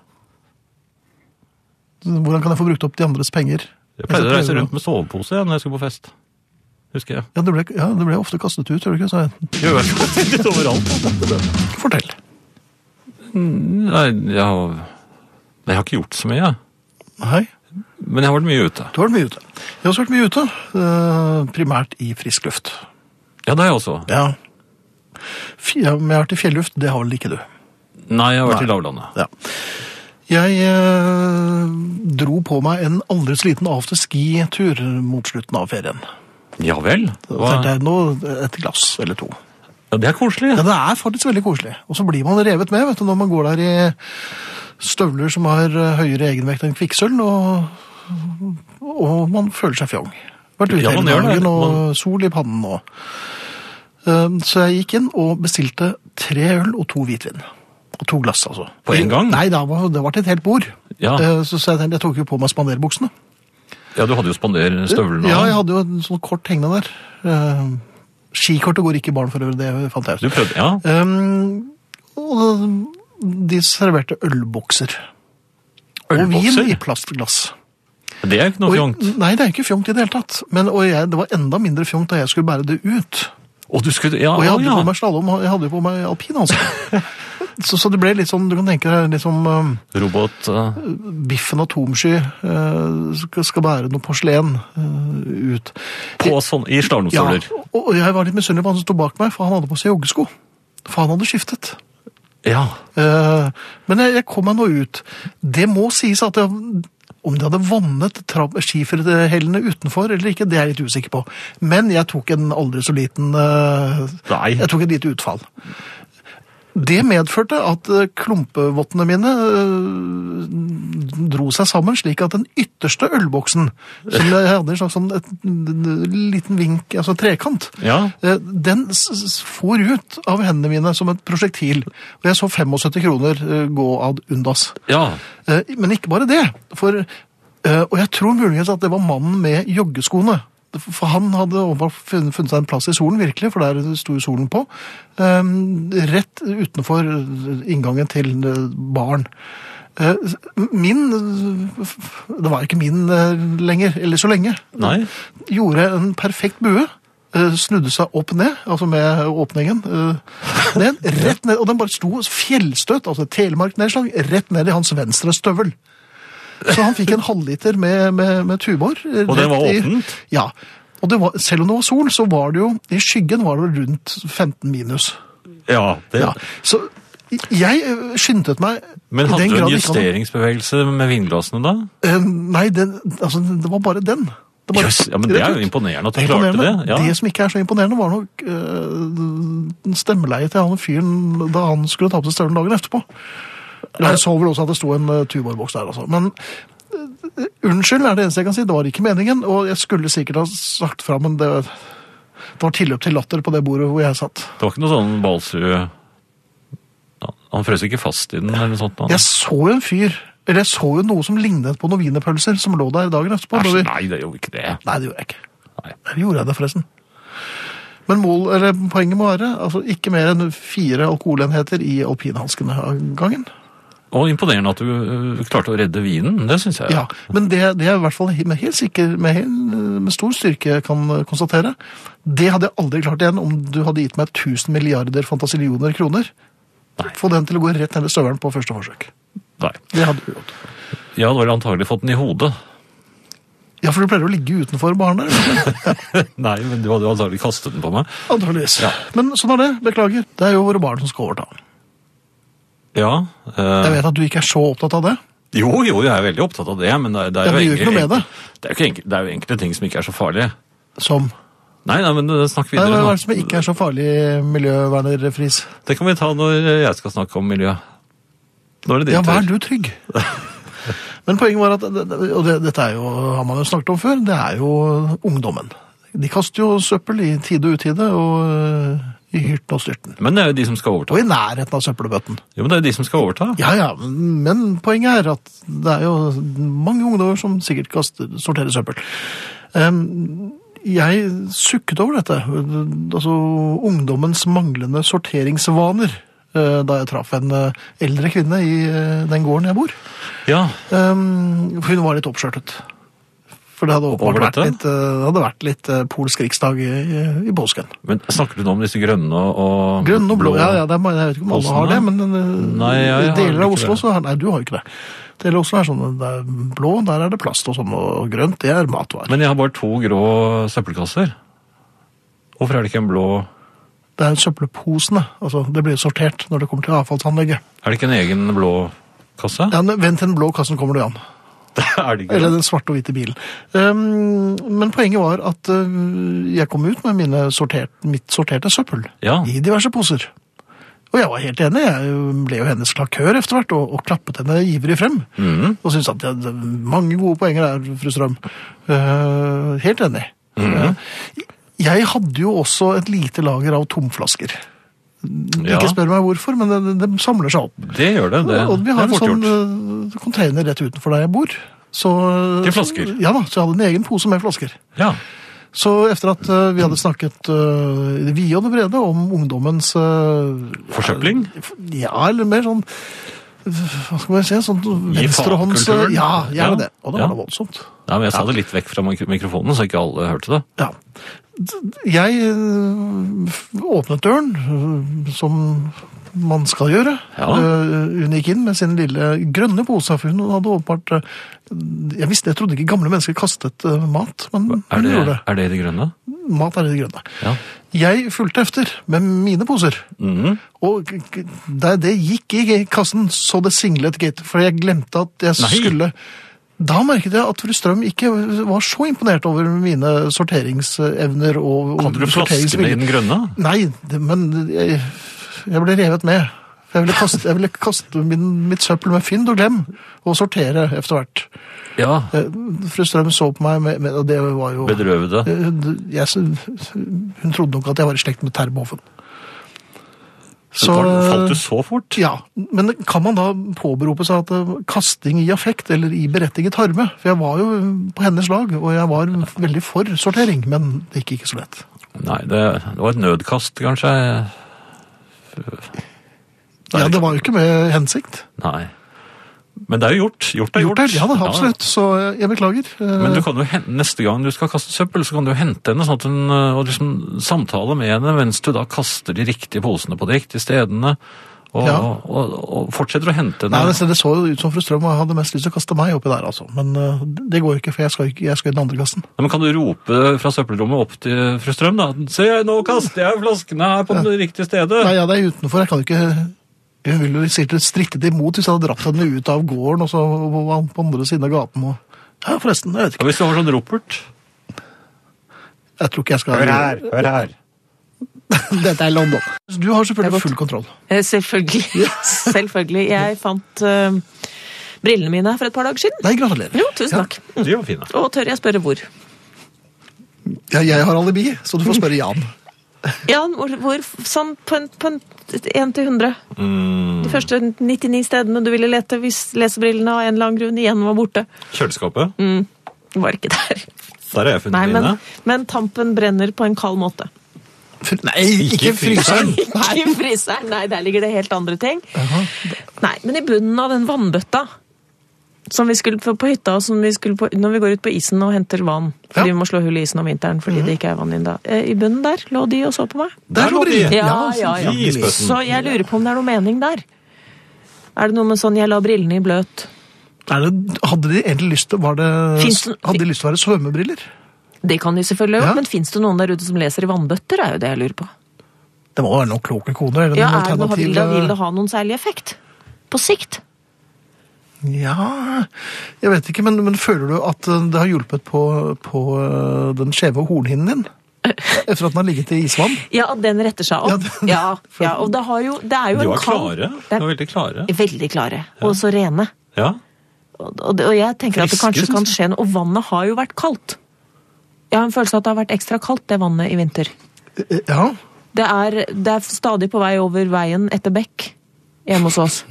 Så Hvordan kan jeg få brukt opp de andres penger? Jeg pleide altså, å reise rundt med sovepose jeg, når jeg skulle på fest. Husker jeg. Ja, det ble, ja, det ble ofte kastet ut, tror du ikke? Så jeg, Gjør jeg litt overalt. fortell. Nei, jeg har, jeg har ikke gjort så mye, jeg. Hei, Men jeg har vært mye ute. du har vært mye ute. Jeg har også vært mye ute, eh, primært i frisk luft. Ja, det har jeg også. Ja. Fj- ja, Men jeg har vært i fjelluft, det har vel ikke du? Nei, jeg har vært Nei. i lavlandet. Ja. Jeg eh, dro på meg en aldri så liten afterski-tur mot slutten av ferien. Ja vel? Da Hva? tenkte jeg nå et glass eller to. Ja, det er koselig. Ja, det er faktisk veldig koselig. Og så blir man revet med vet du, når man går der i støvler som har eh, høyere egenvekt enn kvikksølv, og, og man føler seg fjong. Vært ute Ja, man hele gjør det. dagen og sol i pannen og Eh, Så jeg gikk inn og bestilte tre øl og to hvitvin. Og to glass, altså. På en gang? Nei, da var, det var til et helt bord. Ja. Eh, Så, så jeg tenkte, jeg tok jo på meg spanderbuksene. Ja, du hadde jo spander støvlene. Ja, av. jeg hadde jo en sånn kort hengende der. Eh, Skikortet går ikke i baren for øvrig, det fant jeg ut. Du prøvde, ja. Um, og de serverte ølbokser. Og Ølbokser? vin i plastglass. Det er ikke noe Og- fjongt. Nei, det er ikke fjongt i det hele tatt. Men, og jeg, det var enda mindre fjongt da jeg skulle bære det ut. Og du skulle, ja, Og jeg hadde ja. på meg slalåm, jeg hadde jo på meg alpinhansker. altså. Så, så det ble litt sånn, du kan tenke deg litt som eh, Robot eh, biffen atomsky eh, skal, skal bære noe porselen eh, ut. på sånn, i Ja, slalåmstoler. og og jeg var litt misunnelig på han som sto bak meg, for han hadde på seg joggesko. For han hadde skiftet. Ja. Eh, Men jeg, jeg kom meg nå ut. Det må sies at jeg, om de hadde vannet tra- skiferhellene utenfor eller ikke, det er jeg litt usikker på. Men jeg tok en aldri så liten eh, Nei. Jeg tok et lite utfall. Det medførte at eh, klumpevottene mine eh, dro seg sammen, slik at den ytterste ølboksen, som jeg hadde en slags sånn et, en liten vink, altså trekant, Ja. eh, den s- s- for ut av hendene mine som et prosjektil. Og jeg så 75 kroner eh, gå ad undas. ja. Eh, Men ikke bare det. For, eh, og jeg tror muligens at det var mannen med joggeskoene. For han hadde åpenbart funnet funnet seg en plass i solen, virkelig, for der sto jo solen på. Eh, Rett utenfor inngangen til eh, baren. Eh, Min eh, f- f- Det var ikke min eh, lenger, eller så lenge. Nei. Gjorde en perfekt bue. eh, Snudde seg opp ned, altså med åpningen. eh, Ned, rett ned, og den bare sto fjellstøt, altså telemarknedslag, rett ned i hans venstre støvel. Så han fikk en halvliter med, med, med tubor. eh, Og den var rett i- åpent? Ja. Og det var, selv om det var sol, så var det jo I skyggen var det rundt 15 minus. Ja. Det. Ja. Så jeg eh, skyndte meg Men i hadde den du grad en jeg kan- justeringsbevegelse med vinglassene da? Eh, Nei, den, altså, det var bare den. Det var- Jøss, ja, men det er jo imponerende at du klarte det. imponerende. Ja. Det som ikke er så imponerende, var nok øh, stemmeleie til han fyren da han skulle ta på seg støvelen dagen etterpå. Eller Han så vel også at det sto en uh, tuborboks der, altså. Men øh, unnskyld er det eneste jeg kan si. Det var ikke meningen, og jeg skulle sikkert ha sagt fra, men det, det var tilløp til latter på det bordet hvor jeg satt. Det var ikke noe sånn Balsrud Ja, Han frøs ikke fast i den eller noe sånt? Han. Jeg så jo en fyr, eller jeg så jo noe som lignet på noen wienerpølser som lå der dagen etterpå. da Æsj, vi- nei, det er jo ikke det. Nei, det gjorde jeg ikke. Nei. Eller gjorde jeg det, forresten? Men mål, eller poenget må være altså ikke mer enn fire alkoholenheter i alpinhanskene av gangen. Og imponerende at du øh, klarte å redde vinen. Det syns jeg. Ja, Men det, det jeg i hvert fall he- med, helt sikker, med, hel, med stor styrke kan eh, konstatere, det hadde jeg aldri klart igjen om du hadde gitt meg 1000 milliarder fantasillioner kroner. Få den til å gå rett ned i støvelen på første forsøk. Nei. Det hadde du gjort. Jeg hadde vel antagelig fått den i hodet. Ja, for du pleier å ligge utenfor baren der. Nei, men du hadde jo antagelig kastet den på meg. Antakeligvis. Men sånn er det. Beklager. Det er jo våre barn som skal overta. Ja. øh, Jeg vet at du ikke er så opptatt av det. jo, jo, jeg er veldig opptatt av det, men det, er- det Ja, er men du jo gjør ikke enkel- noe med det. Det er jo, ikke enkel- det er jo enkelte ting som ikke er så farlige. Som Nei, nei, men øh, Nei, snakk hva videre. nå. er det som ikke er så farlig, miljøverner Friis? Det kan vi ta når jeg skal snakke om miljø. Nå er det din Ja, vær tur. du trygg. Men poenget var at, og det, dette er jo, har man jo snakket om før, det er jo ungdommen. De kaster jo søppel i tide og utide, og øh, i hyrten og styrten. Men det er jo de som skal overta. Og i nærheten av søppelbøtten. Jo, men det er jo de som skal overta. Ja, ja, men poenget er at det er jo mange ungdommer som sikkert kaster, sorterer søppel. Ehm, jeg sukket over dette, altså ungdommens manglende sorteringsvaner, eh, da jeg traff en eh, eldre kvinne i eh, den gården jeg bor. Ja, Ehm, hun var litt oppskjørtet. For det hadde Over åpenbart vært dette? litt, eh, det hadde vært litt eh, polsk riksdag i, i- i påsken. men snakker du nå om disse grønne og Grønn og blå, ja, ja, det er, mange- jeg vet ikke om alle Åsene? har det, men øh, Nei, jeg har deler av ikke Oslo det. så har Nei, du har jo ikke det. Deler av Oslo er sånn, det er blå, der er det plast og sånn, og grønt, det er matvarer. Men jeg har bare to grå søppelkasser. Hvorfor er det ikke en blå det er søppelposene, altså det blir sortert når det kommer til avfallsanlegget. Er det ikke en egen blå kasse? Ja, men vent til den blå kassen kommer du an. er det ikke Eller den svarte og hvite bilen. Ehm, men poenget var at øh, jeg kom ut med mine sortert, mitt sorterte søppel Ja. i diverse poser. Og jeg var helt enig, jeg ble jo hennes klakør etter hvert, og, og klappet henne ivrig frem. Mhm. Og syntes at jeg, det er mange gode poenger der, fru Strøm. Eh, helt enig. Mhm. Eh, jeg hadde jo også et lite lager av tomflasker. Ja, Ikke spør meg hvorfor, men det, det, det samler seg opp. det gjør det. Det, Og vi det har er en fort sånn gjort. eh, container rett utenfor der jeg bor. Så, Til flasker? Ja da, så jeg hadde en egen pose med flasker. Ja. Så etter at eh, vi hadde snakket eh, i det vide og det brede om ungdommens eh, Forsøpling? Ja, eller mer sånn Hva skal man si? Sånn I venstrehånds fagkulturen? Ja, gjerne Ja, det. Og det ja. var da voldsomt. Nei, men Jeg sa det litt vekk fra mik- mikrofonen, så ikke alle hørte det. Ja. eh, D- Jeg øh, f- åpnet døren, øh, som man skal gjøre. Ja. Eh, hun gikk inn med sin lille grønne pose, for hun hadde åpenbart eh, Jeg visste, jeg trodde ikke gamle mennesker kastet eh, mat, men Er hun det, gjorde det. er det i det grønne? Mat er i det grønne. Ja. Jeg fulgte efter med mine poser, Mhm. og k- k- da det gikk i kassen, så det singlet gate, for jeg glemte at jeg Nei. skulle da merket jeg at fru Strøm ikke var så imponert over mine sorteringsevner og og Hadde du flaskene i sorteringsvilje. den grønne? Nei, det, men jeg, jeg ble revet med. For Jeg ville kaste, jeg ville kaste min, mitt søppel med fynd og glem, og sortere etter hvert. Ja, Eh, Fru Strøm så på meg, med, med, og det var jo bedrøvede. Eh, hun- jeg, sy- Hun trodde nok at jeg var i slekt med Terboven. Så Falt- Falt du så fort? Ja, men kan man da påberope seg at eh, kasting i affekt eller i berettiget harme? For jeg var jo eh, på hennes lag, og jeg var veldig for sortering, men det gikk ikke så lett. Nei, det, det var et nødkast, kanskje. Det er Ja, ikke- det var jo ikke med hensikt. Nei. Men det er jo gjort. Gjort er gjort. Gjort er, ja da, absolutt. Så eh, jeg beklager. Eh, Men du Mm. kan jo hen- neste gang du skal kaste søppel, så kan du hente henne sånn at hun, øh, og liksom samtale med henne mens du da kaster de riktige posene på de riktige stedene. Og, Ja. og, og, og fortsetter å hente Nei, henne. det, det så jo ut som fru Strøm og jeg hadde mest lyst til å kaste meg oppi der, altså. Men eh, det går jo ikke, for jeg skal, ikke, jeg skal i den andre kassen. Nei, men kan du rope fra søppelrommet opp til fru Strøm, da? Se, nå kaster jeg flaskene her på det riktige stedet! Nei, ja, det er utenfor. Jeg kan jo ikke Hun ville jo sikkert strittet imot hvis jeg hadde dratt henne ut av gården og så var hun på andre siden av gaten og Ja, forresten, jeg vet Ja, ikke. hvis du har sånn ropert Jeg tror ikke jeg skal Hør her, hør her. Dette er London. Du har Det er selvfølgelig godt. full kontroll. Eh, Selvfølgelig. Selvfølgelig. Jeg fant eh, brillene mine for et par dager siden. Nei, gratulerer. Jo, tusen takk. De var fine. Og tør jeg spørre hvor? Ja, jeg har alibi, så du får spørre Jan. Jan, hvor, hvor sånn på en, på en 1 til 100? De første 99 stedene du ville lete hvis lesebrillene av en eller annen grunn igjen var borte. Kjøleskapet? Var ikke der. Der har jeg funnet Mm. Nei, men, mine. men tampen brenner på en kald måte. Fr- Nei, ikke Ikke fryseren! Ikke i fryseren, nei, der ligger det helt andre ting. Nei, men i bunnen av den vannbøtta som vi skulle på, på hytta, og som vi skulle på, når vi går ut på isen og henter vann. Fordi Ja. vi må slå hull i isen om vinteren fordi det ikke er vann inne da. Eh, I bunnen der lå de og så på meg. Der lå de! Ja, ja, ja. I spøtten. Så jeg lurer på om det er noe mening der. Er det noe med sånn 'jeg la brillene i bløt'? Er det, hadde de egentlig lyst til var det, Finns det- Hadde de lyst til å være svømmebriller? Det kan de selvfølgelig ha Ja. gjort, men fins det noen der ute som leser i vannbøtter? er jo det jeg lurer på. Det må være noen kloke koner? Eller Ja, noen er det noe, vil, det, alternative- vil det ha noen særlig effekt? På sikt? Ja Jeg vet ikke, men, men føler du at eh, det har hjulpet på, på eh, den skjeve hornhinnen din? Etter at den har ligget i isvann? Ja, at den retter seg Ja, opp. den- Ja, ja, og det, har jo, det er jo De en var kald- klare. Det De var veldig klare. er veldig klare, og så rene. Ja. Og, og, det- og jeg tenker at det Friske, kanskje kan synes skje noe. Og vannet har jo vært kaldt. Jeg har en følelse av at det har vært ekstra kaldt, det vannet, i vinter. Eh, Ja. Det er, det er stadig på vei over veien etter bekk hjemme hos oss.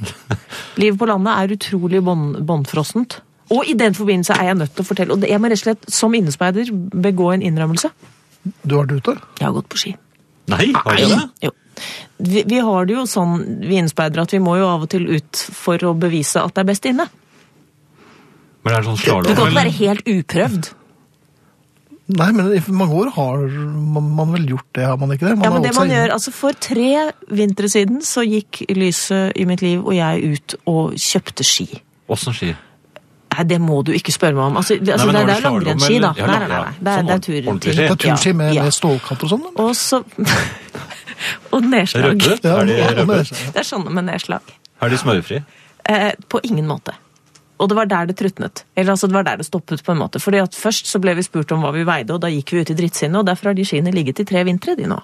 Livet på landet er utrolig bånd- båndfrossent. Og i den forbindelse er jeg nødt til å fortelle, og det- jeg må rett og slett som innespeider begå en innrømmelse. Du har vært ute? Jeg har gått på ski. Nei, har de det? Jo. Vi, vi har det jo sånn, vi innspeidere, at vi må jo av og til ut for å bevise at det er best inne. Men er det sånn Du kan slalåm, ikke være eller? helt uprøvd. Nei, men i mange år har man, man vel gjort det, har man ikke det? Man Ja, har men det holdt seg man inne. gjør, altså For tre vintre siden så gikk lyset i mitt liv og jeg ut og kjøpte ski. Åssen ski? Nei, det må du ikke spørre meg om. Altså, det, altså, men det, var det det er langrennsski, slalom, da. eller? Ja, Nei, nei, nei, langrenn, ja. nei. Det er, det er Sånn tur, ordentlig Det ski. er turski med, Ja. med stålkant og sånn? da. Og så Og nedslag. Røde? Ja, Er de ja, røde? men- Det er sånne med nedslag. Er de smørfri? Eh, på ingen måte. Og det var der det trutnet. Eller altså, det var der det stoppet, på en måte. Fordi at først så ble vi spurt om hva vi veide, og da gikk vi ut i drittsinnet, og derfor har de skiene ligget i tre vintre, de nå.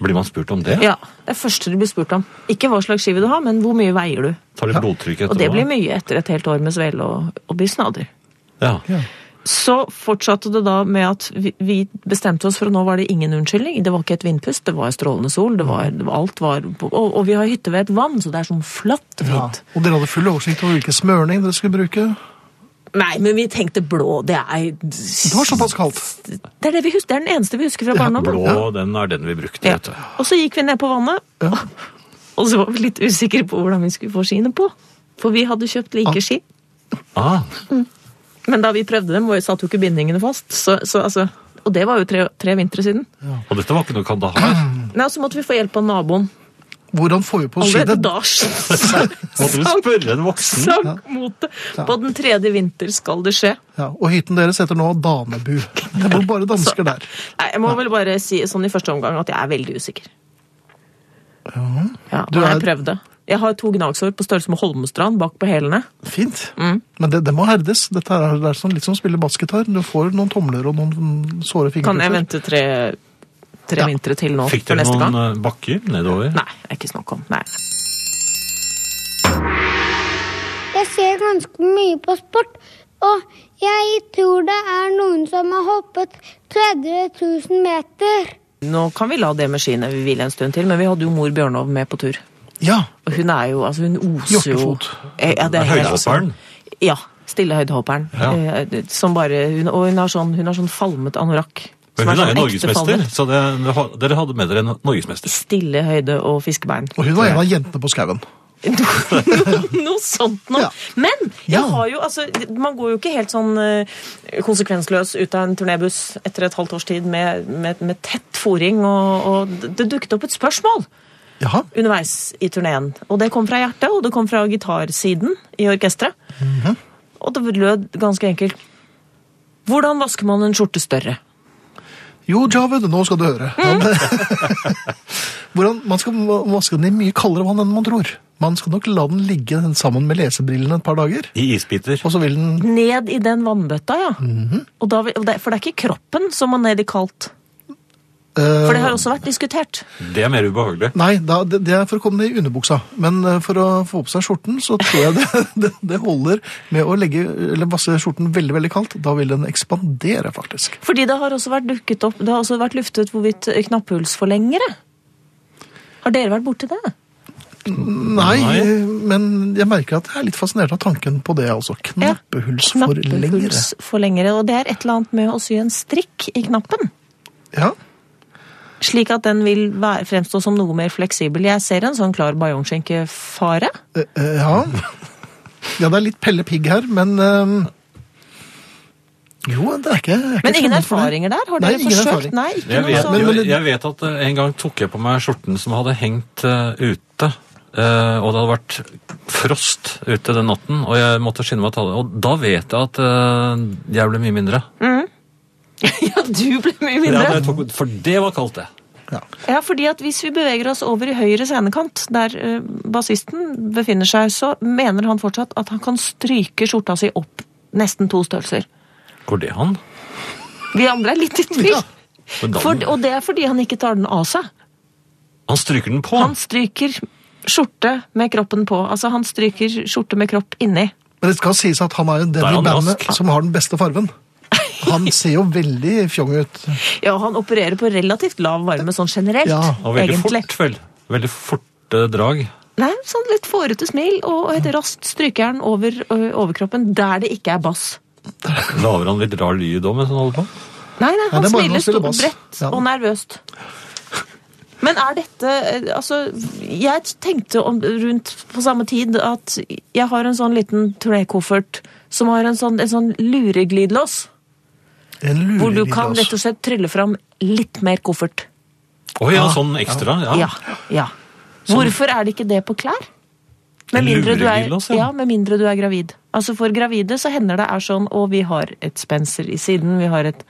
Blir man spurt om det? Ja, Det er første du blir spurt om. Ikke hva slags ski vil du ha, men hvor mye veier du? Tar litt blodtrykk etterpå? Og det blir mye etter et helt år med svele og, og bysnader. Ja. Så fortsatte det da med at vi, vi bestemte oss for at nå var det ingen unnskyldning. Det var ikke et vindpust, det var strålende sol, det var, det var alt var på, og, og vi har hytte ved et vann, så det er sånn flatt og Ja. fint. Og dere hadde full oversikt over hvilken smørning dere skulle bruke? Nei, men vi tenkte blå, det er Det var såpass kaldt. Det er, det, vi husker, det er den eneste vi husker fra barndommen. Blå, den er den vi brukte, Ja. vet du. Og så gikk vi ned på vannet, og så var vi litt usikre på hvordan vi skulle få skiene på. For vi hadde kjøpt like ski. Ah, Men da vi prøvde dem, var- satt jo ikke bindingene fast. Så, så, altså, og det var jo tre, tre vintre siden. og dette var ikke noe kandahar. Nei, og så måtte vi få hjelp av naboen. Hvordan får vi på å si Allerede det? da Må du sank, spørre en Mm, voksen? sank motet. På den tredje vinter skal det skje. Ja, og hytten deres heter nå Danebu. Det bor bare dansker der. Nei, jeg må vel bare si sånn i første omgang at jeg er veldig usikker. Ja, og Du er- jeg prøvde. Jeg har to gnagsår på størrelse med Holmestrand bak på hælene. Fint. Mm. Men det, det må herdes. Dette er, det er sånn, litt som å spille bassgitar. Du får noen tomler og noen såre Kan fingerpusser. jeg vente tre, tre Ja. vintre til nå? Fikk for dere neste noen gang? eh, bakker nedover? Nei, det er ikke snakk om. Nei. Jeg ser ganske mye på sport, og jeg tror det er noen som har hoppet 30 000 meter. Nå kan vi la det med skiene vi vil en stund til, men vi hadde jo mor Bjørnov med på tur. Ja, Og hun er jo Altså, hun oser jo Jokkefot. Eh, Ja, det er helt Høydehopperen? Ja. Stille høydehopperen. Ja. Eh, det- Som bare, hun, og hun har sånn, hun har sånn falmet anorakk. som Men hun er jo sånn ekte norgesmester, falmet. så det, dere hadde med dere en norgesmester. Stille høyde og fiskebein. og hun var en av jentene på skauen. Noe sånt noe. Ja. Men jeg Ja. har jo, altså, man går jo ikke helt sånn eh, konsekvensløs ut av en turnébuss etter et halvt års tid med, med, med tett fòring, og, og det dukket opp et spørsmål Jaha. underveis i turneen. Og det kom fra hjertet, og det kom fra gitarsiden i orkesteret. Og det lød ganske enkelt Hvordan vasker man en skjorte større? Jo, Javed, nå skal du høre. Hvordan, man skal va- vaske den i mye kaldere vann enn man tror. Man skal nok la den ligge sammen med lesebrillene et par dager, I isbiter. og så vil den Ned i den vannbøtta, ja. og da, vil- og det, for det er ikke kroppen som må ned i kaldt. eh, For det har også vært diskutert. Det er mer ubehagelig. Nei, da, det, det er for å komme ned i underbuksa. Men eh, for å få på seg skjorten, så tror jeg det, det, det holder med å legge, eller vasse skjorten veldig veldig kaldt. Da vil den ekspandere, faktisk. Fordi det har også vært dukket opp, det har også vært luftet hvorvidt knapphullsforlengere. Har dere vært borti det? Nei, Nei. eh, men jeg merker at jeg er litt fascinert av tanken på det. altså. Ja. Knappehullsforlengere. Knapphullsforlengere, Og det er et eller annet med å sy en strikk i knappen. Ja. Slik at den vil være, fremstå som noe mer fleksibel. Jeg ser en sånn klar bajonskinkefare. Eh, eh, ja. ja, det er litt Pelle Pigg her, men eh, Jo, det er ikke jeg er ikke Men ingen fremmed for det. erfaringer der? Har Nei, dere ingen forsøkt? erfaring. Nei, ikke Jeg noe vet, sånn. jo, jeg vet at eh, en gang tok jeg på meg skjorten som hadde hengt eh, ute. eh, og det hadde vært frost ute den natten, og jeg måtte skynde meg å ta det. Og da vet jeg at eh, jeg ble mye mindre. Ja, du ble mye Ja, mindre. det tok, for det var kaldt, det. Ja, fordi at hvis vi beveger oss over i høyre scenekant, der eh, bassisten befinner seg, så mener han fortsatt at han kan stryke skjorta si opp nesten to størrelser. Går det an? Vi andre er litt i tvil. Ja. Men da- For, og det er fordi han ikke tar den av seg. Han stryker den på. Han stryker skjorte med kroppen på. Altså, han stryker skjorte med kropp inni. Men det skal sies at han er jo den Da er i han bandet rask. som har den beste farven. Han ser jo veldig fjong ut. Ja, han opererer på relativt lav varme sånn generelt, Ja, og veldig egentlig. fort, vel. Veldig forte drag. Nei, sånn litt fårete smil, og et raskt stryker han over ø, overkroppen der det ikke er bass. Lager han litt rar lyd òg mens han holder på? Nei, nei, han det er bare smiler å spille stort, bass. bredt Ja. og nervøst. Men er dette eh, Altså, jeg tenkte om, rundt på samme tid at jeg har en sånn liten turnékoffert som har en sånn, en sånn lureglidelås, En hvor du lurelyd, kan rett altså. og slett trylle fram litt mer koffert. Å ja, sånn ekstra. Ja. Ja. ja. Hvorfor er det ikke det på klær? Med En mindre, du er, lureglidelås, ja. ja, med mindre du er gravid. Altså For gravide så hender det er sånn Å, vi har et spenser i siden, vi har et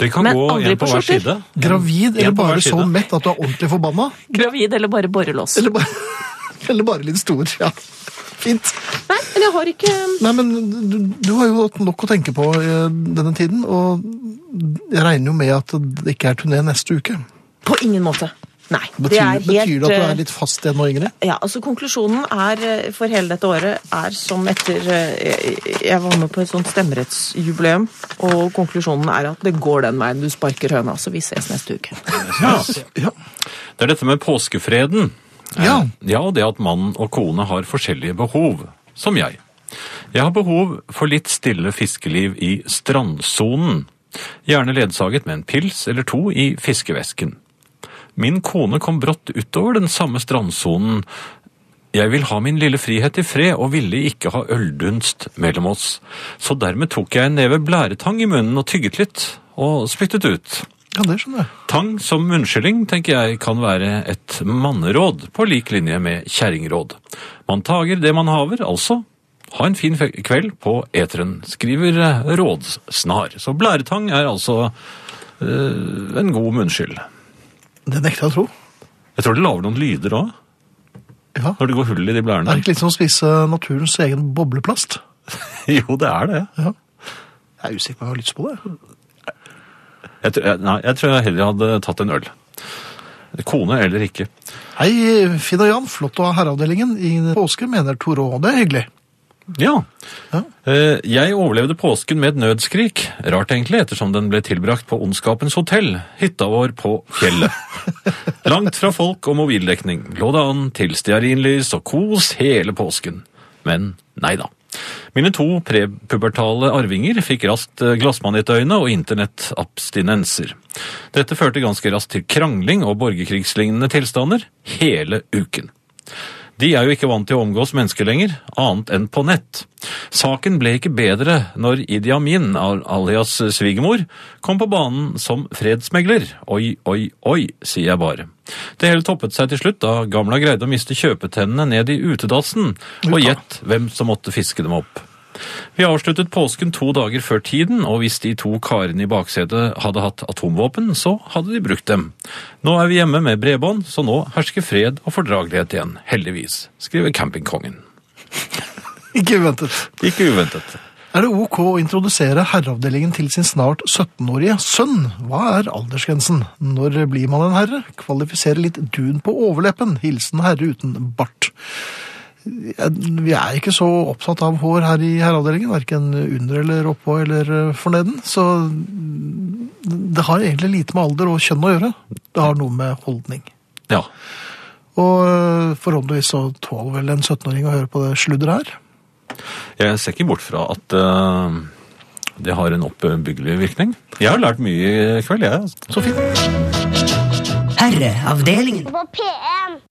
Dere kan Men gå aldri en på på hver skjorter. side. Gravid En eller på hver bare så side. mett at du er ordentlig forbanna? Gravid eller bare borrelås. Eller bare, eller bare litt stor? Ja. Fint. Nei, men jeg har ikke Nei, men du, du har jo hatt nok å tenke på eh, denne tiden, og jeg regner jo med at det ikke er turné neste uke. På ingen måte. Nei. Betyr det er helt, betyr det at du eh, er litt fast igjen nå, Ingrid? ja, altså Konklusjonen er eh, for hele dette året er som etter eh, Jeg jeg var med på et sånt stemmerettsjubileum, og konklusjonen er at det går den veien. Du sparker høna, så vi ses neste uke. Ja. Det er dette med påskefreden. Ja. Eh, ja, og det at mann og kone har forskjellige behov. Som jeg. Jeg har behov for litt stille fiskeliv i strandsonen. Gjerne ledsaget med en pils eller to i fiskevesken. Min kone kom brått utover den samme strandsonen. Jeg vil ha min lille frihet i fred og ville ikke ha øldunst mellom oss. Så dermed tok jeg en neve blæretang i munnen og tygget litt, og spyttet ut. Ja, det skjønner jeg. Tang som unnskyldning tenker jeg kan være et manneråd på lik linje med kjerringråd. Man tager det man haver, altså. Ha en fin fe- kveld på eteren, skriver eh, Rådsnar. Så blæretang er altså eh, en god munnskyld. Det nekter jeg å tro. Jeg tror det lager noen lyder òg, Ja. når det går hull i de Det blærene. er ikke litt som å spise naturens egen bobleplast. Jo, det er det. Jeg er usikker på om jeg har lyst på det. Jeg tror, jeg, nei, jeg tror jeg heller hadde tatt en øl. Kone eller ikke. Hei, Finn og Jan. Flott å ha herreavdelingen i påske, mener Toro. Det er hyggelig. Ja. Ja. Eh, Jeg overlevde påsken med et nødskrik. Rart egentlig, ettersom den ble tilbrakt på Ondskapens hotell, hytta vår på fjellet. Langt fra folk og mobildekning. Lå det an til stearinlys og kos hele påsken. Men nei da. Mine to prepubertale arvinger fikk raskt eh, glassmanetøyne og internettabstinenser. Dette førte ganske raskt til krangling og borgerkrigslignende tilstander hele uken. De er jo ikke vant til å omgås mennesker lenger, annet enn på nett. Saken ble ikke bedre når Idi Amin, al- alias svigermor, kom på banen som fredsmegler. Oi, oi, oi, sier jeg bare. Det hele toppet seg til slutt da gamla greide å miste kjøpetennene ned i utedassen, og gjett hvem som måtte fiske dem opp. Vi avsluttet påsken to dager før tiden, og hvis de to karene i baksetet hadde hatt atomvåpen, så hadde de brukt dem. Nå er vi hjemme med bredbånd, så nå hersker fred og fordragelighet igjen, heldigvis, skriver campingkongen. Ikke uventet. Ikke uventet. Er det ok å introdusere herreavdelingen til sin snart 17-årige sønn? Hva er aldersgrensen? Når blir man en herre? Kvalifisere litt dun på overleppen. Hilsen herre uten bart. Jeg- Vi er ikke så opptatt av hår her i herreavdelingen, verken under eller oppå eller eh, forneden, så det har egentlig lite med alder og kjønn å gjøre. Det har noe med holdning. Ja. Og eh, forhåpentligvis så tåler vel en 17-åring å høre på det sludderet her. Jeg ser ikke bort fra at eh, det har en oppbyggelig virkning. Jeg har lært mye i kveld, jeg. altså. Så fint. Herreavdelingen. På P1.